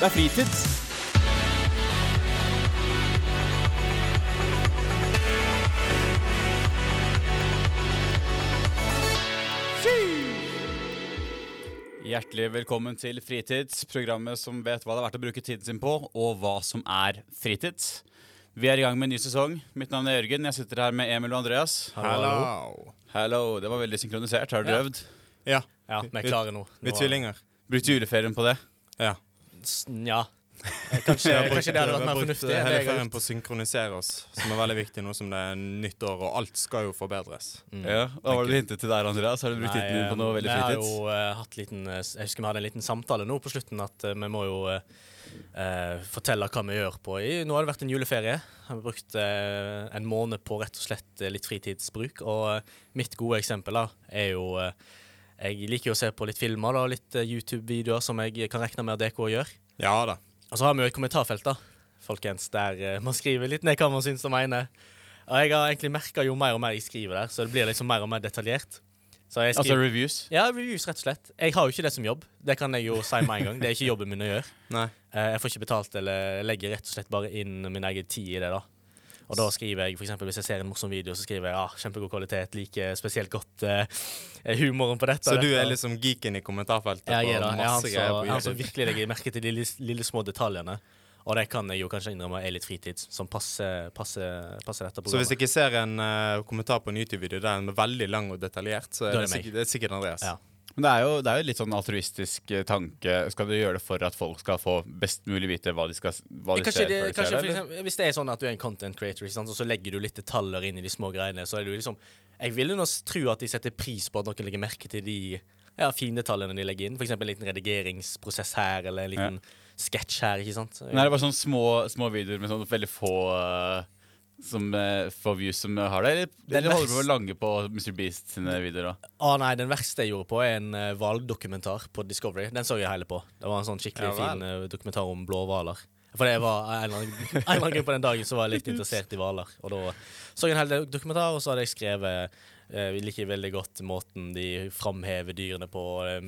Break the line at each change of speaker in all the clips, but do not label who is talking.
Det er fritids. Hjertelig velkommen til Fritids, programmet som vet hva det er verdt å bruke tiden sin på, og hva som er fritids. Vi er i gang med en ny sesong. Mitt navn er Jørgen. Jeg sitter her med Emil og Andreas.
Hallo.
Hello, Det var veldig synkronisert. Har dere øvd?
Ja,
Ja, vi er klare nå. Nå
vi er
er-
tvillinger.
Brukt juleferien på det?
Ja.
S- Nja. Eh, Kanskje, kanskje det hadde vært mer fornuftig.
Vi har brukt, eh,
enn det
hele
jeg har
ferien
gjort.
på å synkronisere oss, som er veldig viktig nå som det er nytt år, og alt skal jo forbedres.
Mm. Ja, Hva var det du hintet til der, Andreas? Har du brukt
Nei,
tiden din på noe
eh,
veldig
vi har
fritids?
jo eh, hatt liten, eh, s- Jeg husker vi hadde en liten samtale nå på slutten at eh, vi må jo eh, eh, fortelle hva vi gjør på i Nå har det vært en juleferie. Har vi brukt eh, en måned på rett og slett eh, litt fritidsbruk. Og eh, mitt gode eksempel da, er jo eh, Jeg liker jo å se på litt filmer og litt eh, YouTube-videoer som jeg kan regne med at dere òg gjør.
Ja da.
Og så har vi jo et kommentarfelt, da, folkens, der eh, man skriver litt ned hva man syns og mener. Og jeg har egentlig merka jo mer og mer jeg skriver der, så det blir liksom mer og mer detaljert. Så jeg
Altså
skriver
reviews?
Ja, reviews, rett og slett. Jeg har jo ikke det som jobb. Det kan jeg jo si med en gang. Det er ikke jobben min å gjøre.
Nei.
Eh, Jeg får ikke betalt, eller jeg legger rett og slett bare inn min egen tid i det, da. Og da skriver jeg, for eksempel, Hvis jeg ser en morsom video, så skriver jeg ja, kjempegod kvalitet, liker spesielt godt eh, humoren på dette.
Så
og
du
dette.
er liksom geeken i kommentarfeltet
Ja, jeg er
på
det. Jeg er han
masse
som-
greier på
jeg er han som
YouTube?
virkelig legger merke til de lille, lille små detaljene. Og det kan jeg jo kanskje innrømme er litt fritids, som passer, passer, passer dette
Så hvis
programmet.
jeg ikke ser en eh, kommentar på en YouTube-video der den er veldig lang og detaljert, så
Da
er
er det
det,
meg.
sikkert, det er sikkert Andreas.
Ja.
Men det er, jo, det er jo litt sånn altruistisk eh, tanke. Skal du gjøre det for at folk skal få best mulig vite hva de, skal, hva de
Kanskje,
ser
det,
før de ser
kanskje for
det? eller?
eksempel, Hvis det er sånn at du er en content creator, ikke sant? og så legger du litt detaljer inn i de små greiene, så er det jo liksom Jeg vil jo nå s- tro at de setter pris på at noen legger merke til de ja, findetaljene de legger inn. F.eks. en liten redigeringsprosess her, eller en liten sketsj her, ikke sant.
Nei, det er bare sånne små, små videoer med sånn veldig få eh, som eh, får views som eh, har det. Eller,
Den
eller holder du på
verste-
å lange på Mr. Beast sine videoer òg?
Å Ah, nei, Den verste jeg gjorde på, er en eh, hvaldokumentar på Discovery. Den så jeg hele på. Det var en sånn skikkelig
Ja vel.
fin eh, dokumentar om blå hvaler. For det var en eller annen en eller annen grunn på den dagen så var jeg litt interessert i hvaler. Og da så jeg en hel del dokumentar, og så hadde jeg skrevet eh, Vi liker veldig godt måten de framhever dyrene på. eh,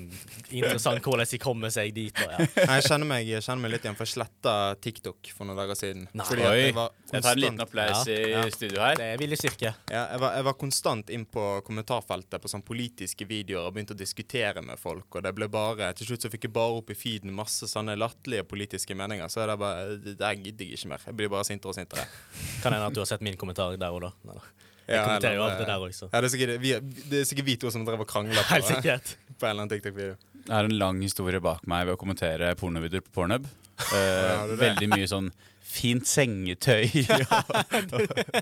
interessant hvordan de kommer seg dit. Og, ja.
Nei, jeg, kjenner meg, jeg kjenner meg litt igjen, for jeg sletta TikTok for noen dager siden.
Nei.
Fordi at
Oi.
jeg var
Jeg tar en liten
konstant-
applaus
Ja,
i
ja.
studio her.
Det er viljestyrke.
Ja, jeg var, jeg var konstant inn på kommentarfeltet på sånn politiske videoer og begynte å diskutere med folk. og det ble bare, Til slutt så fikk jeg bare opp i feeden masse sånne latterlige politiske meninger. Så er det bare, det her gidder jeg ikke mer. Jeg blir bare sintere og sintere.
Kan hende at du har sett min kommentar der og da. Nei, da. Jeg
Ja,
kommenterer jo
eller-
alt det der også.
Ja, det, er sikkert, vi, det er sikkert vi to som drev og krangla på,
Helt sikkert.
på en eller annen TikTok-video.
Jeg har en lang historie bak meg ved å kommentere pornovideoer på Pornhub. Eh,
har du det?
veldig mye sånn fint sengetøy.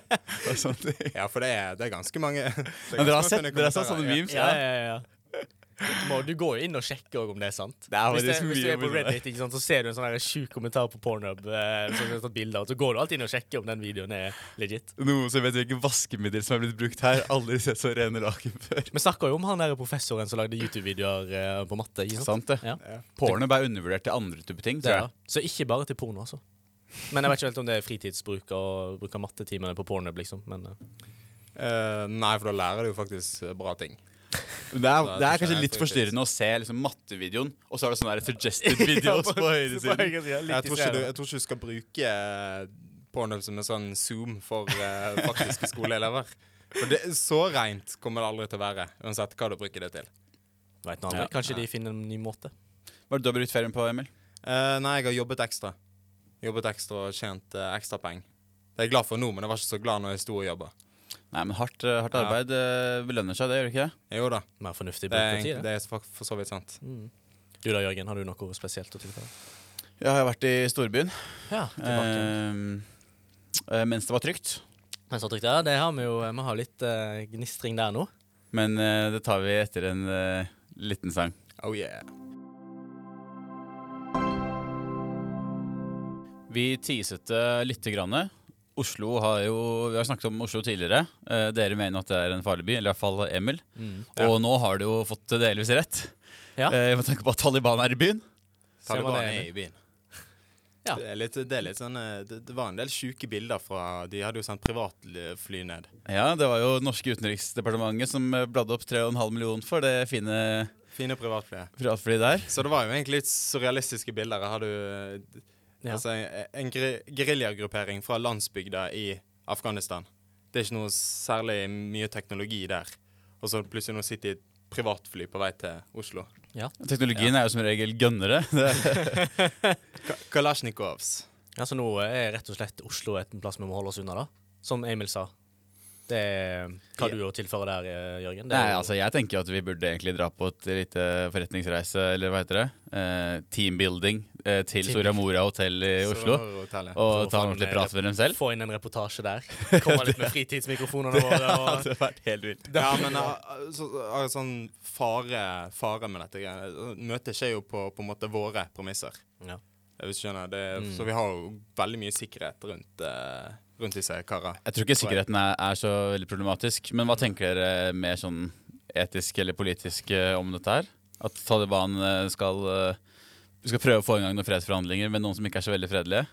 Ja, for det er, det er ganske mange. det er ganske
Men dere har
mange
sett
fine
dere har sett
kommentarer,
sånne
ja.
memes?
Ja, ja, ja, ja. Du, må, du går jo inn og sjekker også om det er sant.
Det er
hvis, det,
faktisk
hvis du
mye
er på
morsommere.
Reddit, ikke sant, så ser du en sånn her sjuk kommentar på Pornhub, eh, som har tatt bilder, og så går du alltid inn og sjekker om den videoen er legit.
Noen som vet hvilke vaskemiddel som er blitt brukt her. Aldri sett så rene laken før.
Vi snakka jo om han der professoren som lagde YouTube-videoer eh, på matte. ikke sant?
Sant det.
Ja.
Pornhub er undervurdert til andre typer ting.
Det
tror
er,
jeg.
det. så ikke bare til porno, altså. Men jeg vet ikke helt om det er fritidsbruk og bruke mattetimene på Pornhub, liksom. Men eh,
Eh, nei, for da lærer du jo faktisk eh, bra ting.
Det er, det er
kanskje
kanskje
jeg
litt
tror ikke-
forstyrrende å se liksom mattevideoen, og så er det sånne der suggested videos på høyresiden.
Jeg tror, ikke du, jeg tror ikke du skal bruke eh, Pornhub som en sånn Zoom for eh, faktiske skoleelever. For det, så rent kommer det aldri til å være, uansett hva du bruker det til.
Vet noe,
Ja.
Kanskje de finner en ny måte.
Hva er det du har brukt ferien på, Emil?
Eh, nei, jeg har jobbet ekstra. Jobbet ekstra og tjent uh, ekstra penger. Det er jeg glad for nå, men jeg var ikke så glad når jeg sto og jobba.
Nei, men Hardt, eh, hardt arbeid eh, belønner seg, det gjør det ikke? det?
Jo da,
Mer fornuftig
det
bruk
er,
av tid.
egentlig-
det.
det er for, for så vidt sant.
Mm. Du da, Jørgen, har du noe spesielt å tilføye?
Ja, jeg har vært i storbyen
Ja, tilbake.
eh, eh, mens det var trygt.
Men så trygt, ja, det har vi jo. Vi har litt eh, gnistring der nå.
Men eh, det tar vi etter en eh, liten sang.
Oh yeah.
Vi teaset det lite grann. Oslo har jo, vi har snakket om Oslo tidligere. Eh, dere mener at det er en farlig by, eller iallfall Emil.
Ja.
Og nå har du jo fått delvis rett.
Ja.
Eh, med tanke på at Taliban er i byen.
Ser man
Taliban
det,
er
Emil?
i byen.
Ja.
Det, er litt, det, er litt sånn, eh, det, det var en del sjuke bilder fra De hadde jo sendt privatfly ned.
Ja, det var jo norske utenriksdepartementet som eh, bladde opp 3,5 millioner for det fine
Fine privatfly.
Privatfly der.
Så det var jo egentlig litt surrealistiske bilder. Her har du eh,
Ja.
altså, en, en geri- geriljagruppering fra landsbygda i Afghanistan. Det er ikke noe særlig mye teknologi der. Og så plutselig nå sitter de i et privatfly på vei til Oslo.
Teknologien er jo som regel gønnere.
Ka Kalasjnikovs.
Ja, så nå eh, er rett og slett Oslo et plass vi må holde oss unna, da. Som Emil sa. Det er eh, hva du å tilføre der, eh, Jørgen. Det er
Nei,
jo-
altså Jeg tenker jo at vi burde egentlig dra på et lite forretningsreise, eller hva heter det? Eh, teambuilding eh, til
Team-
Soria Moria hotell i Oslo.
Hotellet.
Og ta
Så får
en ordentlig
han, eh,
prat med dem selv.
Få inn en reportasje der. Komme litt med fritidsmikrofonene våre. Og...
hadde vært helt vilt.
Ja, men ah, ah, så, ah, sånn fare, fare med dette greiene. Møtet skjer jo på, på en måte våre premisser.
Ja.
Hvis du skjønner. Det, Så vi har jo veldig mye sikkerhet rundt, eh, rundt disse karene.
Jeg tror ikke sikkerheten er, er så veldig problematisk. Men hva tenker dere mer sånn etisk eller politisk eh, om dette her? At Taliban eh, skal eh, vi skal prøve å få i gang noen fredsforhandlinger med noen som ikke er så veldig fredelige.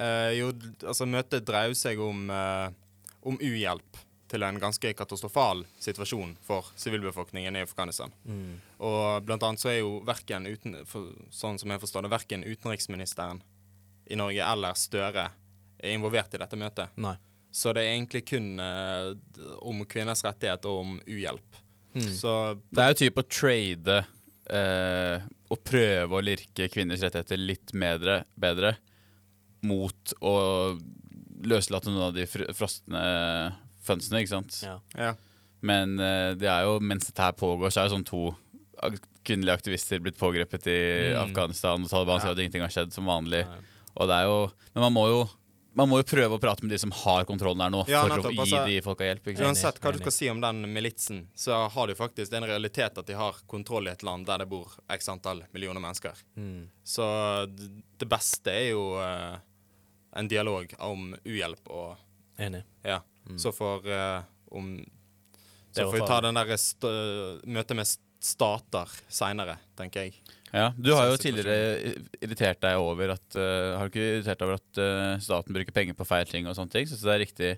Eh, jo, d- altså møtet dreier seg om, eh, om uhjelp til en ganske katastrofal situasjon for sivilbefolkningen i Afghanistan.
Mm.
Og blant annet så er jo verken uten, for, sånn som jeg forstår det, verken utenriksministeren i Norge eller Støre er involvert i dette møtet.
Nei.
Så det er egentlig kun eh, d- om kvinners rettighet og om uhjelp.
Mm.
Så
Det er jo typ å trade eh, og prøve å lirke kvinners rettigheter litt bedre, bedre mot å løslate noen av de fr frosne fønsene, ikke sant?
Ja.
ja.
Men eh, det er jo, mens dette her pågår, så er jo sånn to ak- kvinnelige aktivister blitt pågrepet i
Mm.
Afghanistan, og Taliban sier at ingenting har skjedd som vanlig.
Nei.
Og det er jo, men man må jo, man må jo prøve å prate med de som har kontrollen der nå,
Ja,
for
nettopp,
å gi
altså-
de folka hjelp. Ikke sant?
Uansett hva du
enig.
skal si om den militsen, så har de faktisk det er en realitet at de har kontroll i et land der det bor x antall millioner mennesker.
Mm.
Så d- det beste er jo eh, en dialog om uhjelp og
Enig.
Ja. Så får eh, om
Det
Så
var
får vi ta
fare.
den der st- eh, møtet med stater seinere, tenker jeg.
Ja, Du har jo
Sånn situasjon.
tidligere irritert deg over at eh, Har du ikke irritert deg over at eh, staten bruker penger på feil ting og sånne ting? Syns du det er riktig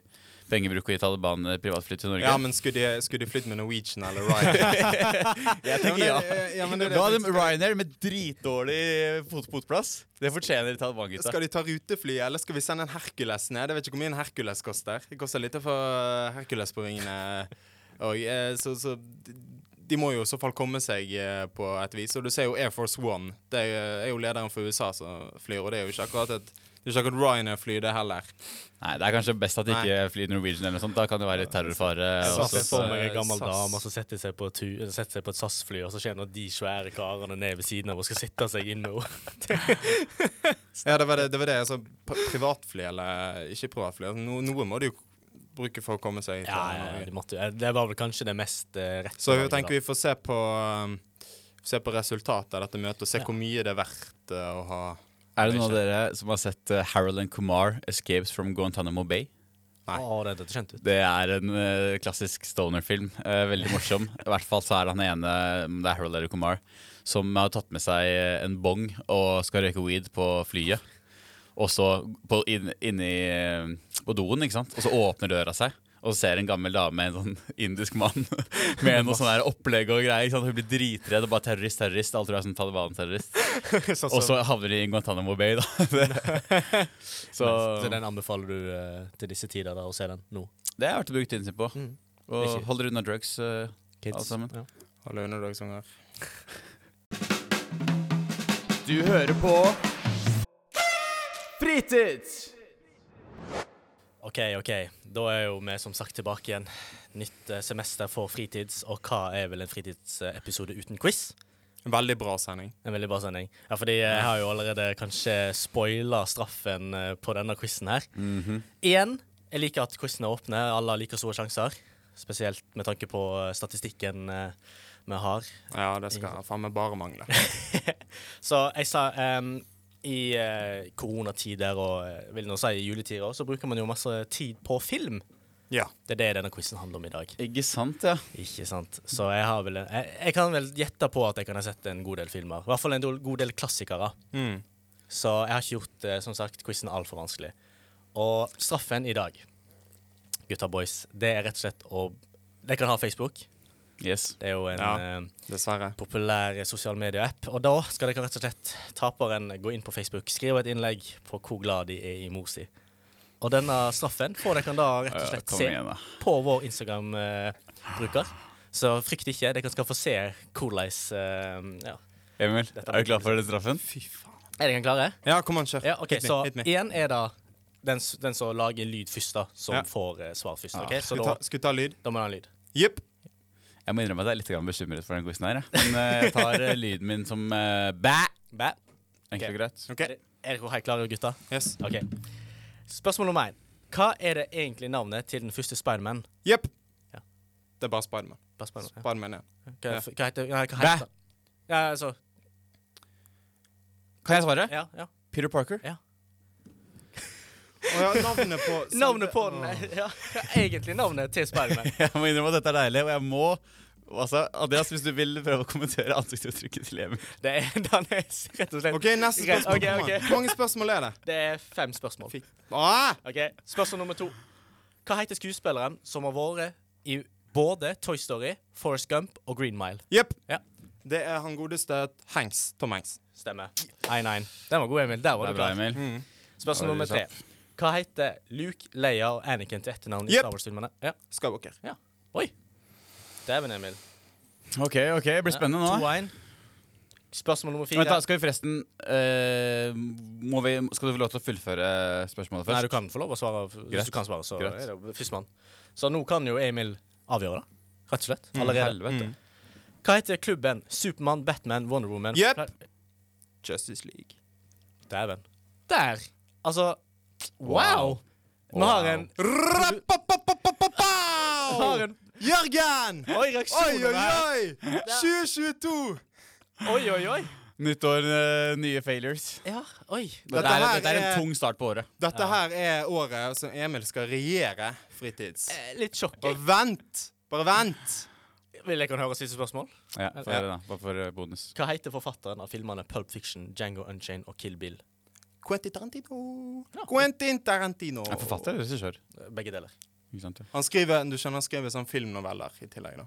pengebruk å gi Taliban eh, privatfly til Norge?
Ja, men skulle de, skulle de flydd med Norwegian eller Ryan? jeg
tenker ja.
men det
Da
er det jeg
hadde
tenker.
Ryanair med dritdårlig fot fotplass. Det fortjener Taliban-gutta.
Skal de ta rutefly, eller skal vi sende en Hercules ned? Jeg vet ikke hvor mye en Hercules koster. Det koster lite for Hercules på ringene. Og, eh, så, så de- de må jo i så fall komme seg eh, på et vis. Og du ser jo Air Force One. Det er jo- er jo lederen for USA som flyr, og det er jo ikke akkurat et det er ikke akkurat Ryanair-fly, det heller.
Nei, Det er kanskje best at de
Nei.
ikke flyr Norwegian eller noe sånt. Da kan det være litt terrorfare.
Jeg
og
Så
SAS,
altså, så-
SAS,
får meg en gammel
SAS.
dame som setter seg på, et tu- eller setter seg på et SAS-fly, og så skjer det når de svære karene ned ved siden av og skal sitte seg inn med henne.
Ja, det var det. det, var det. Altså, pri- privatfly eller ikke privatfly. Altså, no, noe må de jo bruke for å komme seg til
Ja, ja,
Norge.
de måtte jo- det var vel kanskje det mest eh, rette.
Så jeg
valget,
tenker
da.
vi får se på, um, se på resultatet av dette møtet, og se hvor mye det er verdt uh, å ha
Er det noen av dere som har sett eh, Harold and Kumar 'Escapes from Guantánamo Bay'?
Nei.
Å, det hørtes kjent ut.
Det er en eh, klassisk stoner-film. eh, veldig morsom. I hvert fall så er det han ene, om det er Harold eller Kumar, som har tatt med seg eh, en bong og skal røyke weed på flyet. Og så på, inn, inni eh, på doen, ikke sant? og så åpner døra seg. Og så ser en gammel dame, en sånn indisk mann, med noe sånn her opplegg og greier. ikke sant? Hun blir dritredd og bare 'terrorist, terrorist'. Alt tror jeg er sånn Taliban-terrorist.
sånn
Og
som-
så havner de i Guantánamo Bay, da.
Så,
så
den anbefaler du eh, til disse tider da, å se den nå?
det har jeg vært å bruke tiden sin på.
Mm.
Og
Ikke-
holder unna drugs. eh, Alle sammen.
Ja.
Hallo, underdagsunger.
Du hører på Fritids!
OK, OK. Da er jo vi som sagt tilbake igjen. Nytt eh, semester for fritids, og hva er vel en fritidsepisode uten quiz?
En Veldig bra sending.
En veldig bra sending. Ja, fordi eh, jeg har jo allerede kanskje spoila straffen eh, på denne quizen her.
Mhm.
Igjen, jeg liker at quizen er åpne. Alle har like store sjanser. Spesielt med tanke på eh, statistikken eh, vi har.
Ja, det skal faen meg bare mangle.
Så jeg sa em, i eh, koronatider og eh, vil nå si i juletider også, så bruker man jo masse tid på film.
Ja.
Det er det denne quizen handler om i dag.
Ikke sant, ja.
Ikke sant? Så jeg har vel en, jeg, jeg kan vel gjette på at jeg kan ha sett en god del filmer. I hvert fall en del- god del klassikere.
Mm.
Så jeg har ikke gjort eh, som sagt, quizen altfor vanskelig. Og straffen i dag, gutta boys, det er rett og slett å Dere kan ha Facebook.
Yes.
Det er jo en
Ja.
eh,
Dessverre.
populær sosial medie-app. Og da skal dere rett og slett, taperen, gå inn på Facebook, skrive et innlegg på hvor glad de er i mor si. Og denne straffen får dere da rett og
Ja,
slett
kom
se
igjen, da.
på vår Instagram-bruker. Så frykt ikke, dere skal få se hvordan eh, ja.
Emil, er du klar for den straffen?
Fy faen.
Er dere klare?
Ja, kom an, kjør.
Ja, ok,
Hit me,
Så
hit me.
én er da den, s- den som lager lyd først, da, som
Ja.
får eh, svar først. ok? Så
Skal vi
da,
ta, skal vi ta lyd?
da må den ha lyd.
Jepp.
Jeg må innrømme at jeg er litt grann bekymret for den quizen her. jeg. Men eh, jeg tar eh, lyden min som eh, bæ.
Bæ.
Enkelt og greit.
OK.
Er dere helt klare, gutter?
Yes.
Ok. Spørsmål nummer én. Hva er det egentlig navnet til den første Spiderman?
Jepp.
Ja.
Det er bare Spiderman.
Bare Spiderman, ja.
Spiderman, ja.
Hva,
Ja.
hva heter nei, hva
Bæ.
heter- Ja, altså
Kan jeg svare?
Ja, ja.
Peter Parker.
Å ja, navnet på
Navnet på den ja, Hva er egentlig navnet til Spiderman?
Jeg må innrømme at dette er deilig, og jeg må Altså, Andreas, hvis du vil prøve å kommentere ansiktsuttrykket til Emil.
Det er den er s- rett og slett
OK, neste
Greit,
spørsmål.
ok,
Kom an.
ok.
Hvor mange spørsmål er det?
Det er fem spørsmål.
Fy- Ah!
Ok, Spørsmål nummer to. Hva heter skuespilleren som har vært i både Toy Story, Forrest Gump og Green Mile?
Jepp.
Ja.
Det er han godeste Hanks. Tom Hanks.
Stemmer. 1-1. Den var god, Emil. Der
Det
var
er
du
bra,
klar.
Emil.
Spørsmål
Ja,
nummer
det er
tre. Hva heter Luke, Leia og Anakin til etternavn i
Jep.
Star Wars-filmene? Ja.
Skywalker.
Ja. Oi. Dæven, Emil.
OK, ok, det blir spennende nå.
2-1. Spørsmål nummer fire.
Vent da, Skal vi forresten eh, må vi, Skal du få lov til å fullføre eh, spørsmålet
Nei,
først?
du kan få lov å svare. Hvis
Greit.
du kan svare, så
Greit.
er det jo førstemann. Så nå kan jo Emil avgjøre, Mm. da. Rett og slett.
Mm.
Allerede.
Mm.
Helvete.
Hva heter klubben Supermann, Batman, Wonder Woman
Jep.
Klar-
Justice League.
Dæven. Der! Altså Wow! Vi har en vi har en
Jørgen!
Oi,
Oi,
reaksjoner
oi,
her.
oi! 2022!
Oi, oi, oi.
Nytt år, eh, nye failures.
Ja, oi.
Dette,
Dette
er,
her
dette er
er-
en tung start på året.
Dette her er året som Emil skal regjere fritids.
Eh, Litt sjokk. eh.
Bare vent! Bare vent!
Vil jeg kan høre siste spørsmål?
Ja, for,
Ja.
det da, bare for eh, bonus.
Hva heter forfatteren av filmene Pulp Fiction, Django Unchained og Kill Bill?
Quentin Tarantino. Quentin Tarantino.
Jeg er forfatter eller regissør.
Eh, Begge deler.
Ikke sant, ja.
Han skriver du skjønner, han skriver sånn filmnoveller i tillegg, da.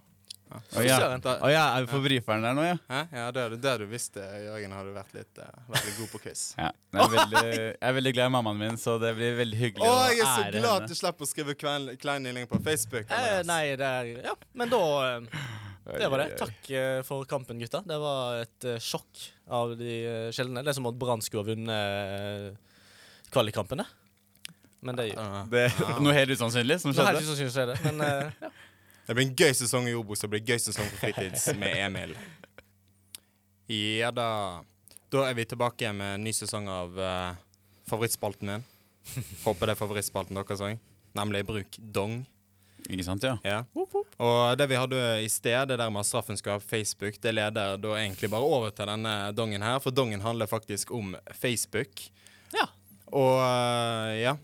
Å ja.
Søren.
da
Å ja, er vi på briferen der nå, ja?
hæ? Ja, det er det det du visste, Jørgen, hadde vært litt, eh, vært litt god på quiz.
ja. Jeg, er veldig, jeg er veldig glad i mammaen min, så det blir veldig hyggelig
Å, jeg er så
ære
glad
henne.
at du slipper å skrive kvein- kleine innlegg på Facebook.
Eh,
Andreas.
nei, det er Ja, men da eh, Det var det. Takk eh, for kampen, gutta. Det var et eh, sjokk av de eh, sjeldne. Det er som at Brann skulle ha vunnet eh, kvalikkampene. Men det gjør
Ah.
Det er noe helt usannsynlig som
Det er
skjedde.
ikke så synd å si det, men eh, ja.
Det blir en gøy sesong i Obos, det blir en gøy sesong på fritids med Emil. Ja da. Da er vi tilbake igjen med en ny sesong av eh, favorittspalten min. Håper det er favorittspalten deres òg. Nemlig Bruk dong.
Ikke sant, ja.
Ja. Og det vi hadde i sted, det der med at straffen skal ha Facebook, det leder da egentlig bare over til denne dongen her, for dongen handler faktisk om Facebook.
ja.
Og øh, ja,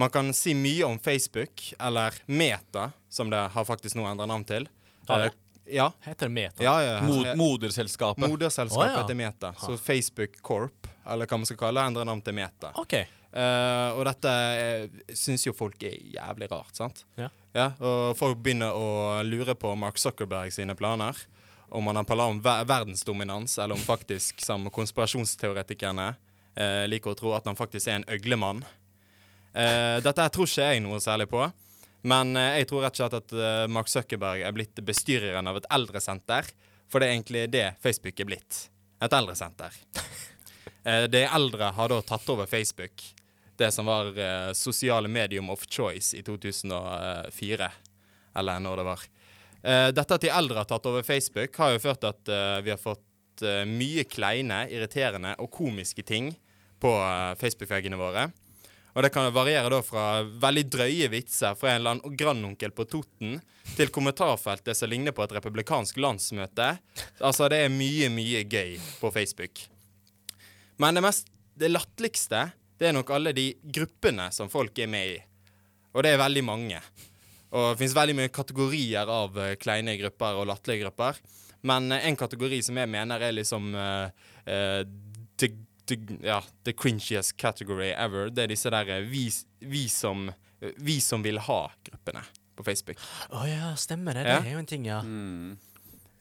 man kan si mye om Facebook, eller Meta, som det har faktisk nå endret navn til.
Har det?
Eh, Ja,
Heter det Meta?
ja, ja.
Mod moderselskapet.
Moderselskapet
Å, ja.
til Meta. Så Facebook Corp, eller hva man skal kalle det, endrer navn til Meta.
OK.
Eh, og dette syns jo folk er jævlig rart, sant?
Ja.
Og folk begynner å lure på Mark Zuckerberg sine planer. Om han har planer om ver verdensdominans, eller om faktisk, som konspirasjonsteoretikerne eh, liker å tro, at han faktisk er en øglemann. Eh, dette her tror ikke jeg noe særlig på. Men eh, jeg tror rett og slett at eh, Mark Zuckerberg er blitt bestyreren av et eldresenter. For det er egentlig det Facebook er blitt. Et eldresenter. Eh, de eldre har da tatt over Facebook. Det som var eh, sosiale medium of choice i 2004. eh, Eller når det var. Eh, dette at de eldre har tatt over Facebook, har jo ført til at eh, vi har fått eh, mye kleine, irriterende og komiske ting på eh, Facebook-veggene våre. Og det kan variere da fra veldig drøye vitser fra en eller annen grandonkel på Toten til kommentarfeltet som ligner på et republikansk landsmøte. Altså, det er mye, mye gøy på Facebook. Men det mest det latterligste, det er nok alle de gruppene som folk er med i. Og det er veldig mange. Og det fins veldig mye kategorier av eh, kleine grupper og latterlige grupper. Men eh, en kategori som jeg mener er liksom eh, eh, the, the, ja, the cringiest category ever, det er disse der eh, vi, vi, som, eh, vi som vil ha-gruppene på Facebook.
Å ja, Mm. stemmer det.
Ja.
Mm.
Det er jo en ting, ja.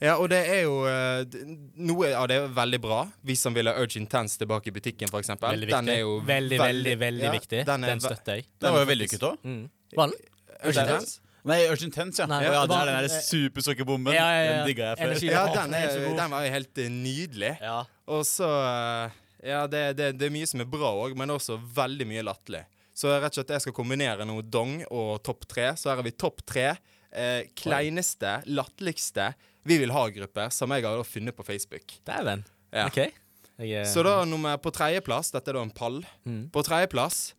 Ja, og det er jo eh, d- Noe av det er jo veldig bra. Vi som vil ha Urge Intense tilbake i butikken, f.eks.
Veldig viktig. veldig, veldig, veldig viktig. Den,
Den, er ve-
støtter jeg.
Den var jo
faktisk-
vellykket òg.
Mm. Var den?
Urge
Den-
Intense?
Nei, Urgent Tense, ja.
Nei,
Å ja
det
det
var-
er den der supersukkerbomben.
Ja, ja, ja.
Den digga jeg før.
Energi- Ja,
Ja, den,
den er
er,
så god.
den var jo helt eh, nydelig.
Ja.
Og så eh, Ja, det, det, det er mye som er bra òg, men også veldig mye latterlig. Så rett og slett jeg skal kombinere noe dong og topp tre. Så her har vi topp tre. Eh, kleineste, latterligste Vi vil ha-grupper, som jeg har da funnet på Facebook.
Dæven.
Ja.
OK. Jeg, eh,
Så da nummer på tredjeplass, dette er da en pall.
Mm.
På tredjeplass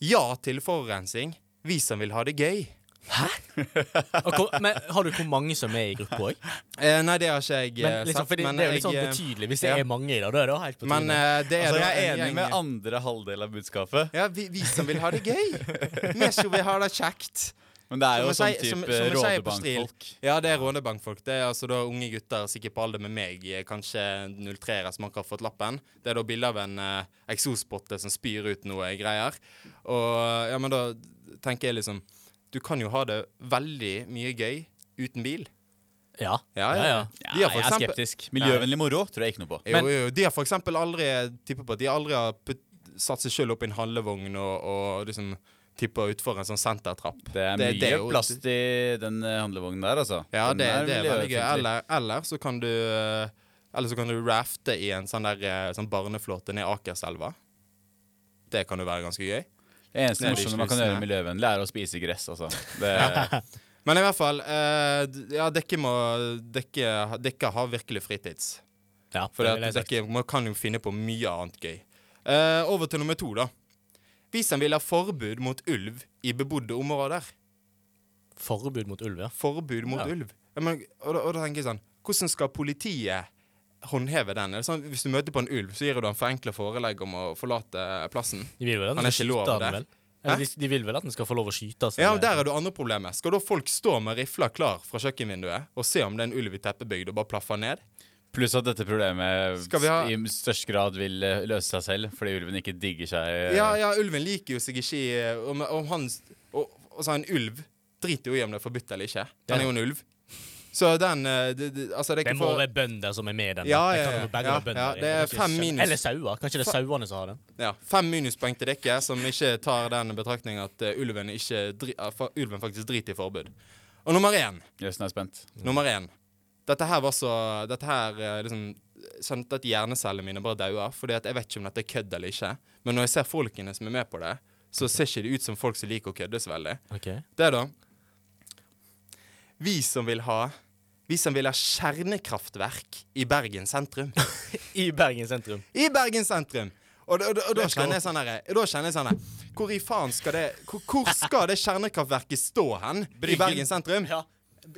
Ja til forurensning. Vi som vil ha det gøy.
og hvor- men har du hvor mange som er i gruppa òg?
Eh, nei, det har ikke jeg eh,
Men liksom,
sett.
fordi
men
det er jo litt sånn
jeg, eh,
betydelig. Hvis det
ja.
er mange i det, da er det helt på
Men
tide.
eh, det er
Altså,
da
jeg er
en
enig
gjeng-
med andre halvdel av budskapet,
Ja, vi, vi som vil ha det gøy. Vi som vil ha det kjekt.
men det er jo
Som
sånn
jeg sier- som-
type
som jeg sier på Stril.
rådebankfolk.
Ja, det er rånebankfolk. Det er altså da unge gutter sikkert på alder med meg, eh, kanskje 03-ere som akkurat har fått lappen. Det er da bilde av en eh, eksospotte som spyr ut noe greier. Og ja, men da tenker jeg liksom Du kan jo ha det veldig mye gøy uten bil.
Ja.
Ja, ja.
Ja,
De har for
jeg er
eksempel-
skeptisk. Miljøvennlig moro tror jeg ikke noe på.
Jo, jo, jo. De har for eksempel aldri tipper på at de aldri har putt, satt seg sjøl opp i en halvvogn og, og liksom tippa utfor en sånn sentertrapp.
Det er mye
Det- det er jo-
plast i den eh, handlevognen der, altså.
Ja,
Den
det, det er veldig
miljøfiendtlig.
gøy. Eller, eller så kan du eh, Eller så kan du rafte i en sånn der eh, sånn barneflåte ned Akerselva. Det kan jo være ganske gøy.
Det eneste
Det er de
morsomme man kan
slusene.
gjøre miljøvennlig, er å spise gress, altså. Det,
Men i hvert fall eh, d- Ja, dere må Dere, dere har virkelig fritids.
ja
For
det vil jeg
at
sagt.
dere må- kan jo finne på mye annet gøy. Eh, over til nummer to, da. Vi som vil ha forbud mot ulv i bebodde områder.
Forbud mot ulv, ja.
Forbud mot
Ja.
ulv. Ja, men, og, da, og da tenker jeg sånn Hvordan skal politiet håndheve den? Er det sånn, hvis du møter på en ulv, så gir du han forenkla forelegg om å forlate plassen?
De vil vel at
Han
den
er
skal
ikke lov
skyte
der.
den, vel? Eller de, de vil vel at den skal få lov å skyte? altså.
Ja, og Der er det andre problemet. Skal da folk stå med rifla klar fra kjøkkenvinduet og se om det er en ulv i teppebygd og bare plaffe han ned?
pluss at dette problemet
Skal vi ha-
i størst grad vil eh, løse seg selv, fordi ulven ikke digger seg. eh,
Ja, ja, ulven liker jo seg ikke i eh, Om, om han og, og så en ulv driter jo i om det er forbudt eller ikke. Den er jo en ulv. Så den eh, det, det, Altså, det er
Det
ikke
må
for
være bønder som er med i den.
Ja,
Det
ja,
kan
ja.
jo begge
Ja,
være bønder,
ja,
jeg
det er
kan ikke
fem
skjønne.
minus.
Eller sauer. Kanskje det er sauene som har den?
ja, fem minuspoeng til dere som ikke tar den betraktning at eh, ulven, ikke, dri- eh, fa- ulven faktisk driter i forbud. Og nummer én.
Jøssen er spent.
Nummer én. Dette her var så Dette her eh, liksom Kjente at hjernecellene mine bare daua. Fordi at jeg vet ikke om dette er kødd eller ikke. Men når jeg ser folkene som er med på det, så ser ikke de ut som folk som liker å kødde så veldig.
Ok.
Det da Vi som vil ha Vi som vil ha kjernekraftverk i Bergen sentrum.
I Bergen sentrum.
I Bergen sentrum! Og, da- og, da- og da
Let's go.
kjenner jeg sånn her Da kjenner jeg sånn her Hvor i faen skal det Hvor, hvor skal det kjernekraftverket stå hen? I
Bryggen.
Bergen sentrum?
Ja,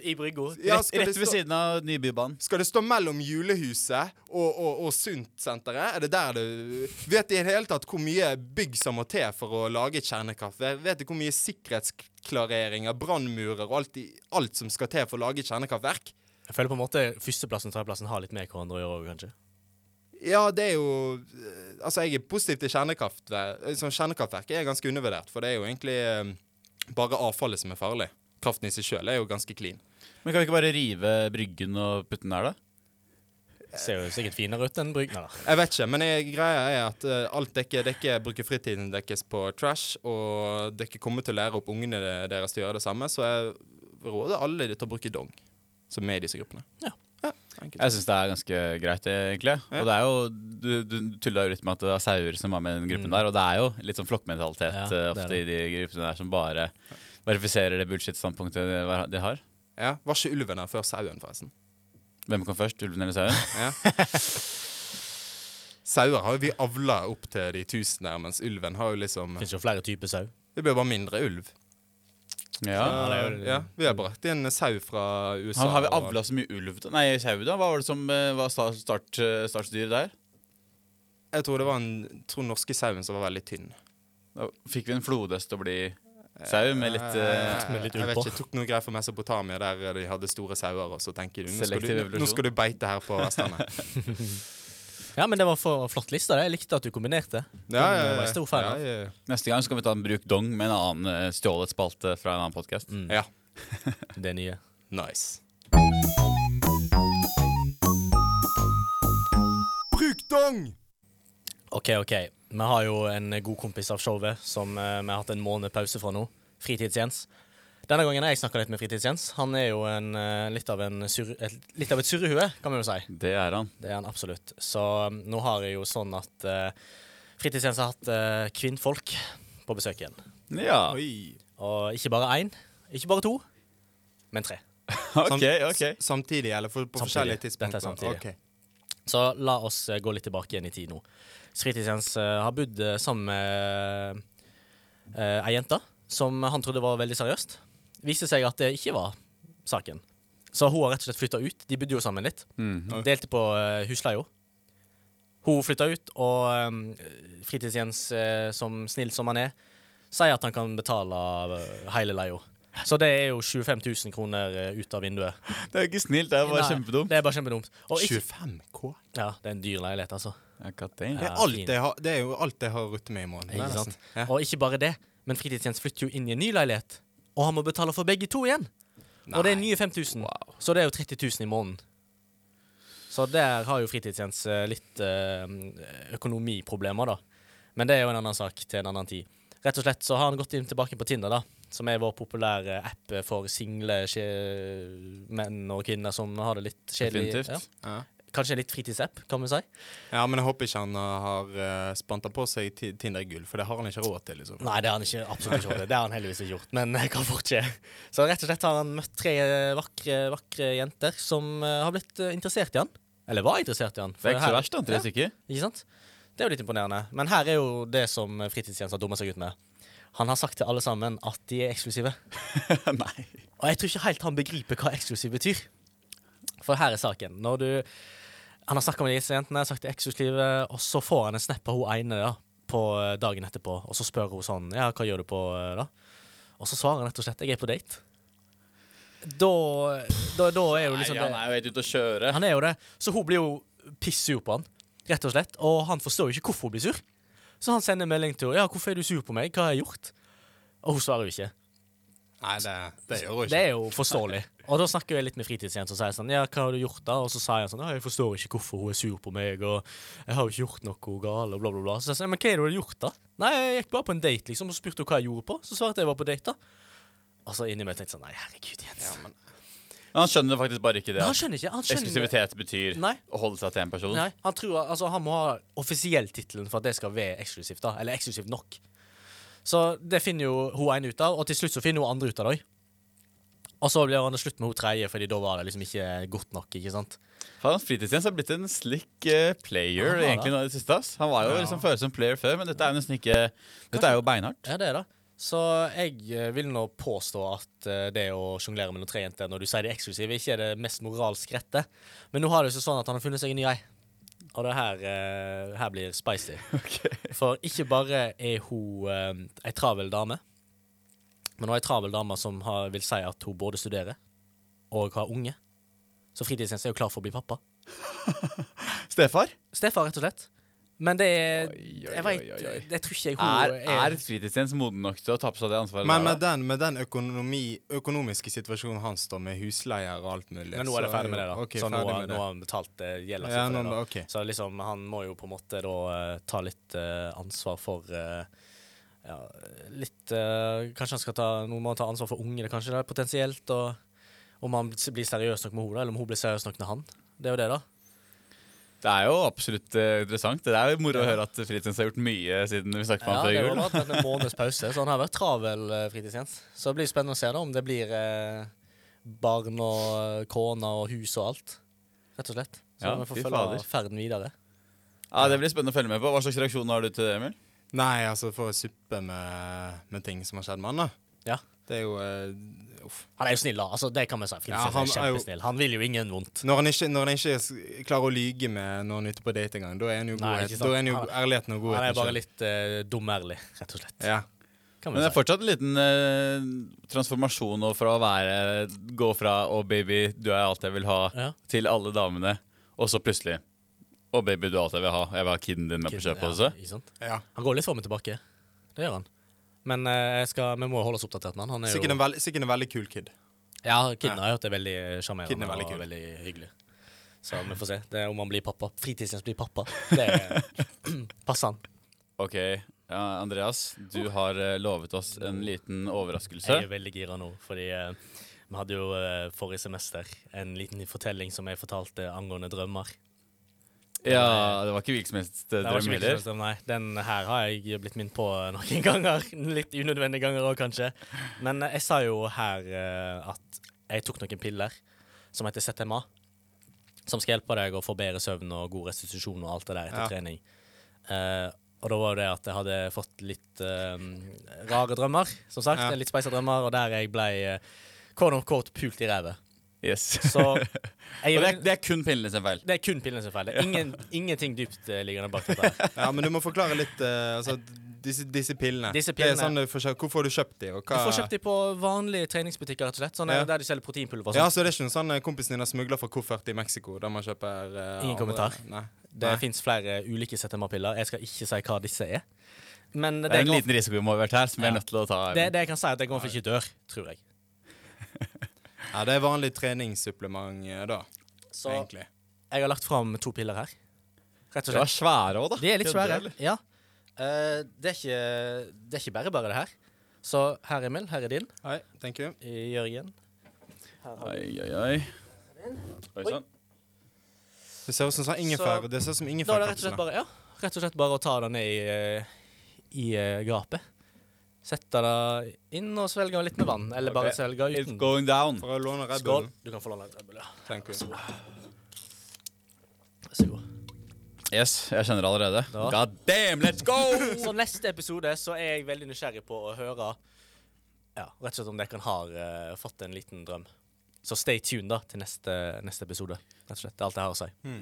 I brygga.
Ja,
Rett,
skal det
rett ved
stå-
siden av Nybybanen.
Skal det stå mellom julehuset og, og, og Sundt-senteret? Er det der det Vet de i det hele tatt hvor mye bygg som må til for å lage et kjernekraft? Vet- Vet de hvor mye sikkerhetsklareringer, brannmurer og alt, i- alt som skal til for å lage et kjernekraftverk?
Jeg føler på en måte førsteplassen og tredjeplassen har litt med hverandre å gjøre òg, kanskje.
Ja, det er jo eh, Altså, jeg er positiv til kjernekraftverk. Sånn kjernekraftverk er ganske undervurdert, for det er jo egentlig eh, bare avfallet som er farlig. Kraften i seg sjøl er jo ganske clean.
Men kan vi ikke bare rive Bryggen og putte den der, da?
Ser jo sikkert finere ut enn brygga.
Jeg vet ikke, men jeg, greia er at eh, alt dekke, dekke bruker fritiden deres på trash, og dere kommer til å lære opp ungene de- deres til å gjøre det samme, så jeg råder alle til å bruke dong, som er i disse gruppene.
Ja.
enkelt.
Jeg syns det er ganske greit, egentlig. Og det er jo, Du, du tulla jo litt med at det er sauer som var med i den gruppen der, og det er jo litt sånn flokkmentalitet
Ja,
eh,
det er
ofte i de gruppene der som bare verifiserer det bullshit-standpunktet de de har.
Ja, Var ikke ulven her før sauen, forresten?
Hvem kom først, ulven eller sauen?
Ja. Sauer har jo vi avla opp til de tusen her, mens ulven har jo liksom
Fins jo flere typer sau.
Det blir bare mindre ulv.
Ja.
det er jo-
ja, vi har brakt inn en sau fra USA.
Han har vi
og-
avla så mye ulv da? Nei, sau, da? Hva var det som eh, var sta- start, eh, startdyr der?
Jeg tror det var en tror norske sauen som var veldig tynn.
Da fikk vi en flodhest til å bli sau med litt eh,
Med litt
jeg
ull
vet
på.
ikke, jeg tok noe greier fra Mesopotamia der de hadde store sauer, og så tenker du nå skal du,
Selektiv evolusjon.
nå skal du beite her på Vestlandet.
Ja, men det var for flott liste. det. Jeg likte at du kombinerte.
Ja, ja,
Jeg var stor fan av.
ja, ja,
Neste gang skal vi ta en bruk dong med en annen eh, stjålet spalte
Mm.
fra en annen podkast.
ja.
Det nye.
Nice. gang!
OK, OK. Vi har jo en god kompis av showet som eh, vi har hatt en måned pause fra nå. Fritids-Jens. Denne gangen har jeg snakka litt med Fritids-Jens. Han er jo en, eh, litt, av en surre- et, litt av et surrehue, kan vi jo si.
Det er han.
Det er han absolutt. Så um, nå har jeg jo sånn at eh, Fritids-Jens har hatt eh, kvinnfolk på besøk igjen.
Ja.
Ah. Oi.
Og ikke bare én, ikke bare to, men tre.
OK,
Sam-
OK.
s- Samtidig, eller for, på
Samtidig.
forskjellige
Dette
tidspunkter?
er samtidig.
Ok.
Så la oss eh, gå litt tilbake igjen i tid nå. Fritidsjens eh, har bodd eh, sammen med eh, ei jente som han trodde var veldig seriøst. Viste seg at det ikke var saken. Så hun har rett og slett flytta ut. De bodde jo sammen litt.
Mm.
Delte på uh, husleia. Hun flytta ut, og eh, Fritids-Jens, eh, som snill som han er, sier at han kan betale eh, hele leia. Så det er jo 25 000 kroner eh, ut av vinduet.
Det er ikke snilt, det er bare
Nei,
kjempedumt.
Det er bare kjempedumt. Og ikke,
25K?
ja, det er en dyr leilighet, altså.
Ja, god damn.
Det
Ja,
er, alt
fin.
jeg har, det er jo alt jeg har å rutte med i måneden.
Ikke
nesten.
sant?
Ja.
Og ikke bare det, men Fritidsjens flytter jo inn i en ny leilighet. Og han må betale for begge to igjen. Og det er nye 5000. Så det er jo 30 000 i måneden. Så der har jo Fritidsjens eh, litt eh, økonomiproblemer, da. Men det er jo en annen sak til en annen tid. Rett og slett så har han gått inn tilbake på Tinder, da. Som er vår populære app for single skje- menn og kvinner som har det litt kjedelig.
Definitivt.
Ja.
Ja.
Kanskje en litt fritidsapp, kan vi si.
ja, men jeg håper ikke han uh, har uh, spanta på seg ti- Tinder-gull, for det har han ikke råd til. liksom.
Nei, det har han ikke, absolutt ikke gjort. Det Det har han heldigvis ikke gjort. Men jeg kan fort skje. Så rett og slett har han møtt tre vakre, vakre jenter som eh, har blitt eh, interessert i han. Eller var interessert i han.
Det er ikke
her-
så verst, da. Tre stykker.
Ikke sant? Det er jo litt imponerende. Men her er jo det som fritidsjens har dumma seg ut med. Han har sagt til alle sammen at de er eksklusive.
Nei.
Og jeg tror ikke helt han begriper hva eksklusiv betyr. For her er saken. Når du Han har snakka med disse jentene, sagt det eksklusive, og så får han en snap av hun ene da, på eh, dagen etterpå, og så spør hun sånn Ja, hva gjør du på eh, da? Og så svarer han rett og slett Jeg er på date. Da, da, da er jo liksom
Nei, han
det
er jo helt ute å kjøre.
Han er jo det. Så hun blir jo pissur på han, rett og slett. Og han forstår jo ikke hvorfor hun blir sur. Så han sender en melding til henne. Ja, hvorfor er du sur på meg? Hva har jeg gjort? Og hun svarer jo ikke.
Nei, det, det gjør hun
Det
ikke.
er jo forståelig. Og da snakker jeg litt med fritidsjenta og sier sånn Ja, hva har du gjort da? Og så sier han sånn Ja, jeg forstår ikke hvorfor hun er sur på meg, og jeg har jo ikke gjort noe galt, og bla, bla, bla. Så sier jeg sånn Men hva er det du har gjort da? Nei, jeg gikk bare på en date, liksom, og så spurte hun hva jeg gjorde på. Så svarte jeg jeg var på date, da. Og så inni meg tenkte jeg sånn Nei, herregud, Jens.
Ja, men,
Han skjønner faktisk bare ikke det.
Men
at
han skjønner ikke. Han skjønner
Eksklusivitet betyr
Nei.
å holde seg til én person.
Nei, han tror Altså, han må ha offisielltittelen for at det skal være eksklusivt, da. Eller eksklusivt nok. Så det finner jo hun ene ut av, og til slutt så finner hun andre ut av det òg. Og så blir det slutt med hun tredje, fordi da var det liksom ikke godt nok, ikke sant.
Faen, Fritidstjeneste har blitt en slick eh, player
Han har
egentlig nå i det siste. ass. Han var jo
Ja.
liksom føles som player før, men dette er jo nesten ikke Dette er jo beinhardt.
Ja, det er det. Så jeg eh, vil nå påstå at eh, det å sjonglere mellom tre jenter når du sier det eksklusive, ikke er det mest moralsk rette. Men nå har det jo seg sånn at han har funnet seg en ny ei. Og det her, eh, her blir spicy. For ikke bare er hun eh, ei travel dame, men hun er ei travel dame som har, vil si at hun både studerer og har unge. Så fritidstjeneste er jo klar for å bli pappa.
Stefar?
Stefar, rett og slett. Men det er
Oi, oi,
Jeg
oi,
veit
oi, oi.
Jeg tror ikke jeg
Er, er fritidstjeneste moden nok til å ta på seg det ansvaret?
men
der,
med den, med den økonomi, økonomiske situasjonen hans, da, med husleier og alt mulig
Men nå er det
så
ferdig med det, da.
Ok,
så nå,
ferdig med
nå
det.
har han betalt eh, gjelda si.
Ja,
for det
nå-
da.
ok.
Så liksom, han må jo på en måte da eh, ta litt eh, ansvar for eh, ja, litt eh, Kanskje han skal ta Nå må han ta ansvar for ungene, kanskje, da, potensielt. Og om han blir seriøs nok med henne, da, eller om hun blir seriøs nok med han. Det er jo det, da.
Det er jo absolutt eh, interessant. Det er jo moro å høre at fritidstjeneste har gjort mye siden vi snakket med
Ja,
ham
det
før
har
jul.
vært en måneds pause, så han har vært travel eh, fritidsjens. Så det blir spennende å se da om det blir eh, barn og eh, kone og hus og alt. Rett og slett. Så
Ja,
vi får
fy
følge
fader.
ferden videre.
Ja, det blir spennende å følge med på. Hva slags reaksjon har du til det, Emil?
Nei, altså, for å suppe med, med ting som har skjedd med han, da.
Ja.
Det er jo eh, Uff.
Han er jo snill, da. Altså, det kan vi si. Fritz
Ja, han
er
er jo-
kjempesnill. Han vil jo ingen vondt.
Når han ikke, når han ikke s- klarer å lyge med når han er ute på date engang, da er han jo,
Nei,
godhet,
ikke sant.
da er han jo
Han er-
ærligheten og godheten.
Han er bare
selv.
litt uh, dumærlig, rett og slett.
ja.
Kan vi
Men det er
si.
fortsatt en liten eh, transformasjon nå fra å være Gå fra 'Å, baby, du er alt jeg vil ha',
Ja.
til alle damene, og så plutselig 'Å, baby, du er alt jeg vil ha'. Jeg vil ha kiden din med på kjøpet også.
Ja, ikke sant?
ja.
Han går litt fram og tilbake. Det gjør han. Men eh, jeg skal, vi må holde oss oppdatert med han. han er
Sikkert,
jo,
en veldig, sikkert en veldig kul kid.
ja, Kidden har jeg hørt er veldig eh,
Kidden
sjarmerende
er veldig
og
kul.
veldig hyggelig. Så vi får se det er om han blir pappa. Fritidens blir pappa. Det passer han.
Ok, ja, Andreas, du har eh, lovet oss en liten overraskelse.
Jeg er veldig gira nå, fordi eh, vi hadde jo eh, forrige semester en liten fortelling som jeg fortalte angående drømmer.
Ja, det var ikke hvilken som helst eh,
Det var
drøm
ikke
heller.
virkelighetsdrøm, nei. Den her har jeg blitt minnet på noen ganger. Litt unødvendige ganger òg, kanskje. Men eh, jeg sa jo her eh, at jeg tok noen piller som heter ZMA. Som skal hjelpe deg å få bedre søvn og god restitusjon og alt det der etter
Ja.
trening. Eh, og da var det at jeg hadde fått litt eh, rare drømmer, som sagt.
Ja.
Litt speisa drømmer, og der jeg ble uh, quote on quote pult i ræva.
Yes.
Så jeg,
Og det er, det er kun pillene sin feil.
det er kun pillene som er feil. Det er ingen, ingenting dyptliggende bak dette. her.
Ja, men du må forklare litt eh, altså, disse, disse pillene.
Disse
Det er sånn,
pillene.
eh, forskjell- hvorfor har du kjøpt de, og
Du
hva
får kjøpt de på vanlige treningsbutikker, rett og slett. Sånne
Ja.
Der de selger proteinpulver. og
Ja,
sånt.
så det er ikke noen sånn eh, kompisen din har smugla fra koffert i Mexico, der man kjøper eh,
Ingen kommentar.
andre- Nei.
det
Nei.
fins flere eh, ulike ZMA-piller. Jeg skal ikke si hva disse er. Men det,
Det er en
jeg-
liten risiko involvert her som vi er nødt til å ta.
det, det jeg kan si, er at jeg kommer for ikke dør, tror jeg.
Ja, det er vanlig treningssupplement eh, da,
Så
egentlig.
jeg har lagt fram to piller her. Rett og
Det var
slett.
svære òg, da.
De er litt
Kødder,
svære.
eller?
Ja. Eh, det, er ikke, det er ikke bare bare, det her. Så her, Emil. Her er din.
Hei, thank you.
Jørgen.
Oi, oi, oi. Oi, sånn. sann.
Det ser ut som sånn ingefær. det ser ut som
Da er det rett og slett
ingefærkapsler.
bare, ja, rett og slett bare å ta det ned i, eh, i eh, gapet. Sette det inn og svelge litt med vann. Eller bare
Ok.
svelge
It's
uten.
going down.
For å låne Red
Skål.
Bullen.
Du kan få låne et Red Bull, ja.
Thank you.
Vær så god.
Yes, jeg kjenner det allerede.
Da.
God damn, let's go!
Så neste episode så er jeg veldig nysgjerrig på å høre ja, rett og slett om dere har eh, fått en liten drøm. Så stay tuned da til neste, neste episode. Rett og slett. Det er alt jeg har å si.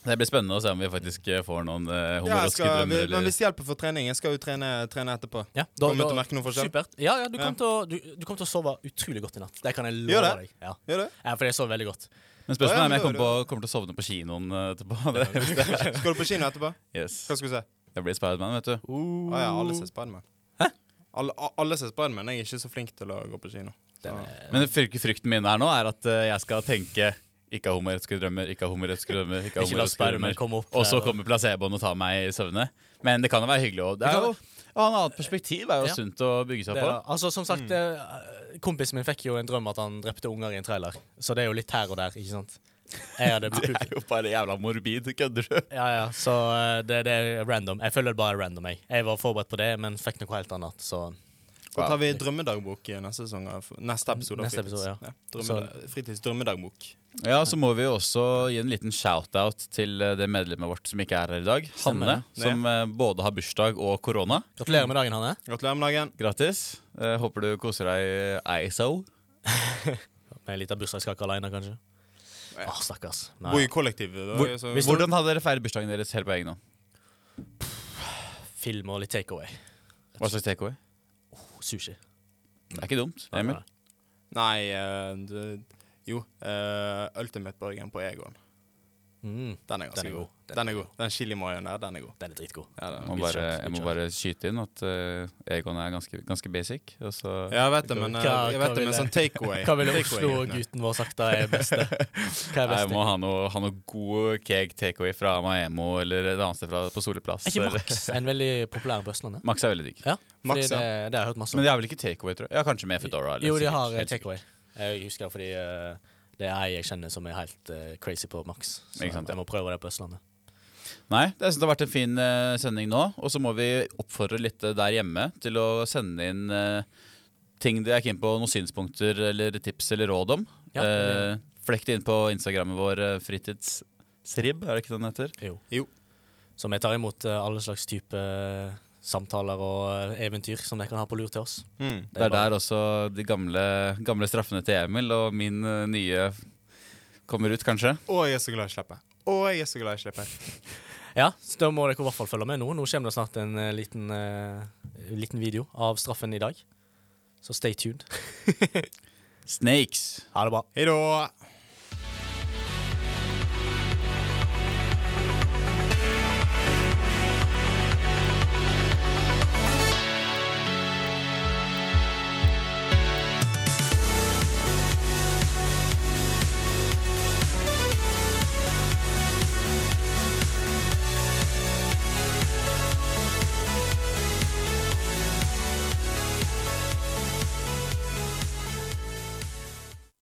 Det blir spennende å se om vi faktisk eh, får noen eh,
Ja, jeg
humoristiske
skal,
drømmer.
men
Eller.
hvis det hjelper for trening, jeg skal jo trene, trene etterpå.
Ja,
Kommer du til å merke noen forskjell?
Supert. Ja, ja, du
Ja.
kommer til, å- du, du kommer til å sove utrolig godt i natt. Det kan jeg
Gjør
love
det?
deg. Ja.
Gjør det?
ja, for jeg sover veldig godt.
Men
Ja,
spørsmålet
ja,
er om jeg
men
kommer, på, kommer til å sovne på kinoen eh, etterpå. Det,
Skal du på kino etterpå?
yes.
Hva skal du se?
Jeg blir Spiderman, vet du.
Å ja, alle ser Spiderman. Alle, a- alle ser Spiderman. Jeg er ikke så flink til å gå på kino. Så.
Eh,
Men fryk- frykten min her nå er at eh, jeg skal tenke ikke ha homoerotiske drømmer, ikke ha homoerotiske drømmer. ikke ha
Ikke la
homoerotiske
spermen
drømmer.
komme opp.
Og så
der,
kommer placeboen og tar meg i søvne. Men det kan jo være hyggelig. Og det
Det
er
kan
jo å ha en annet perspektiv er jo
Ja.
sunt å bygge seg
Det,
på.
er- altså, som sagt, eh, Kompisen min fikk jo en drøm at han drepte unger i en trailer. Så det er jo litt her og der, ikke sant? Jeg hadde blitt
Det er jo bare jævla morbid, kødder du?
Ja, ja, så eh, det, det er random. Jeg føler det bare er random, jeg. Jeg var forberedt på det, men fikk noe helt annet, så
Da tar vi drømmedagbok i neste sesong av Neste episode. av
Neste
Fritids.
episode, ja.
drømmeda- Fritids drømmedagbok.
Ja, så må vi jo også gi en liten shout-out til eh, det medlemmet vårt som ikke er her i dag.
Stemmer
Hanne,
det.
som eh, både har bursdag og korona.
Gratulerer med dagen, Hanne.
Gratulerer med dagen.
Grattis. Eh, håper du koser deg eiso.
Med en liten bursdagskake alene, kanskje. Åh,
Ja.
stakkars. Nei.
Bor i kollektiv. da,
Hvor,
så-
hvordan hadde dere feiret bursdagen deres helt på egen hånd?
Film og litt takeaway.
Hva slags takeaway?
Sushi.
Det er ikke dumt. Emil.
Nei eh, du, Jo. eh, Ultimate Burgen på Egon.
Mm,
Den er ganske
Den er
god.
god.
Den er god. Den chilimoyen der, den er god.
den er dritgod.
Ja, den.
Jeg
er
må
Mye
god.
bare,
kjøtt,
jeg må
mye
bare skyte inn at eh, Egon er ganske, ganske basic. Og så
Ja, jeg vet det, men eh,
Hva-
jeg
hva
vet det, men
ville-
sånn takeaway
Hva ville
takeaway-guttene.
Oslo-gutten vår sagt da er best? Hva er
Nei, jeg
best?
må ha noe, ha noe god cake takeaway fra Maemo eller et annet sted fra, på Soleplass.
Er ikke
eller-
Max en veldig populær på Østlandet?
Max er veldig digg.
Ja, fordi
Max,
det,
ja.
det har jeg hørt masse om.
Men de har vel ikke takeaway, tror jeg. Ja, kanskje med Foodora. eller
jo, de
sikkert.
har eh,
Helt sikkert.
takeaway. Jeg husker det fordi eh, det er ei jeg kjenner som er helt eh, crazy på Max. Så
Ikke sant, ja.
jeg må prøve det på Østlandet.
Nei, det, jeg synes det har vært en fin eh, sending nå. Og så må vi oppfordre litt eh, der hjemme til å sende inn eh, ting de er keen på, noen synspunkter eller tips eller råd om.
Ja,
Eh, flekk det inn på Instagrammen vår, uh, fritidsrib, er det ikke sånn det den heter?
Jo.
Jo.
Så vi tar imot eh, alle slags type eh, samtaler og eh, eventyr som dere kan ha på lur til oss.
Mm.
Det er
bare-
der også de gamle, gamle straffene til Emil og min eh, nye kommer ut, kanskje.
Å, jeg er så glad i slippet. Å, jeg er så glad i slippet.
Ja, så da må dere i hvert fall følge med nå. Nå kommer det snart en eh, liten, eh, liten video av straffen i dag. Så stay tuned.
Snakes!
Ha det bra.
Hei da.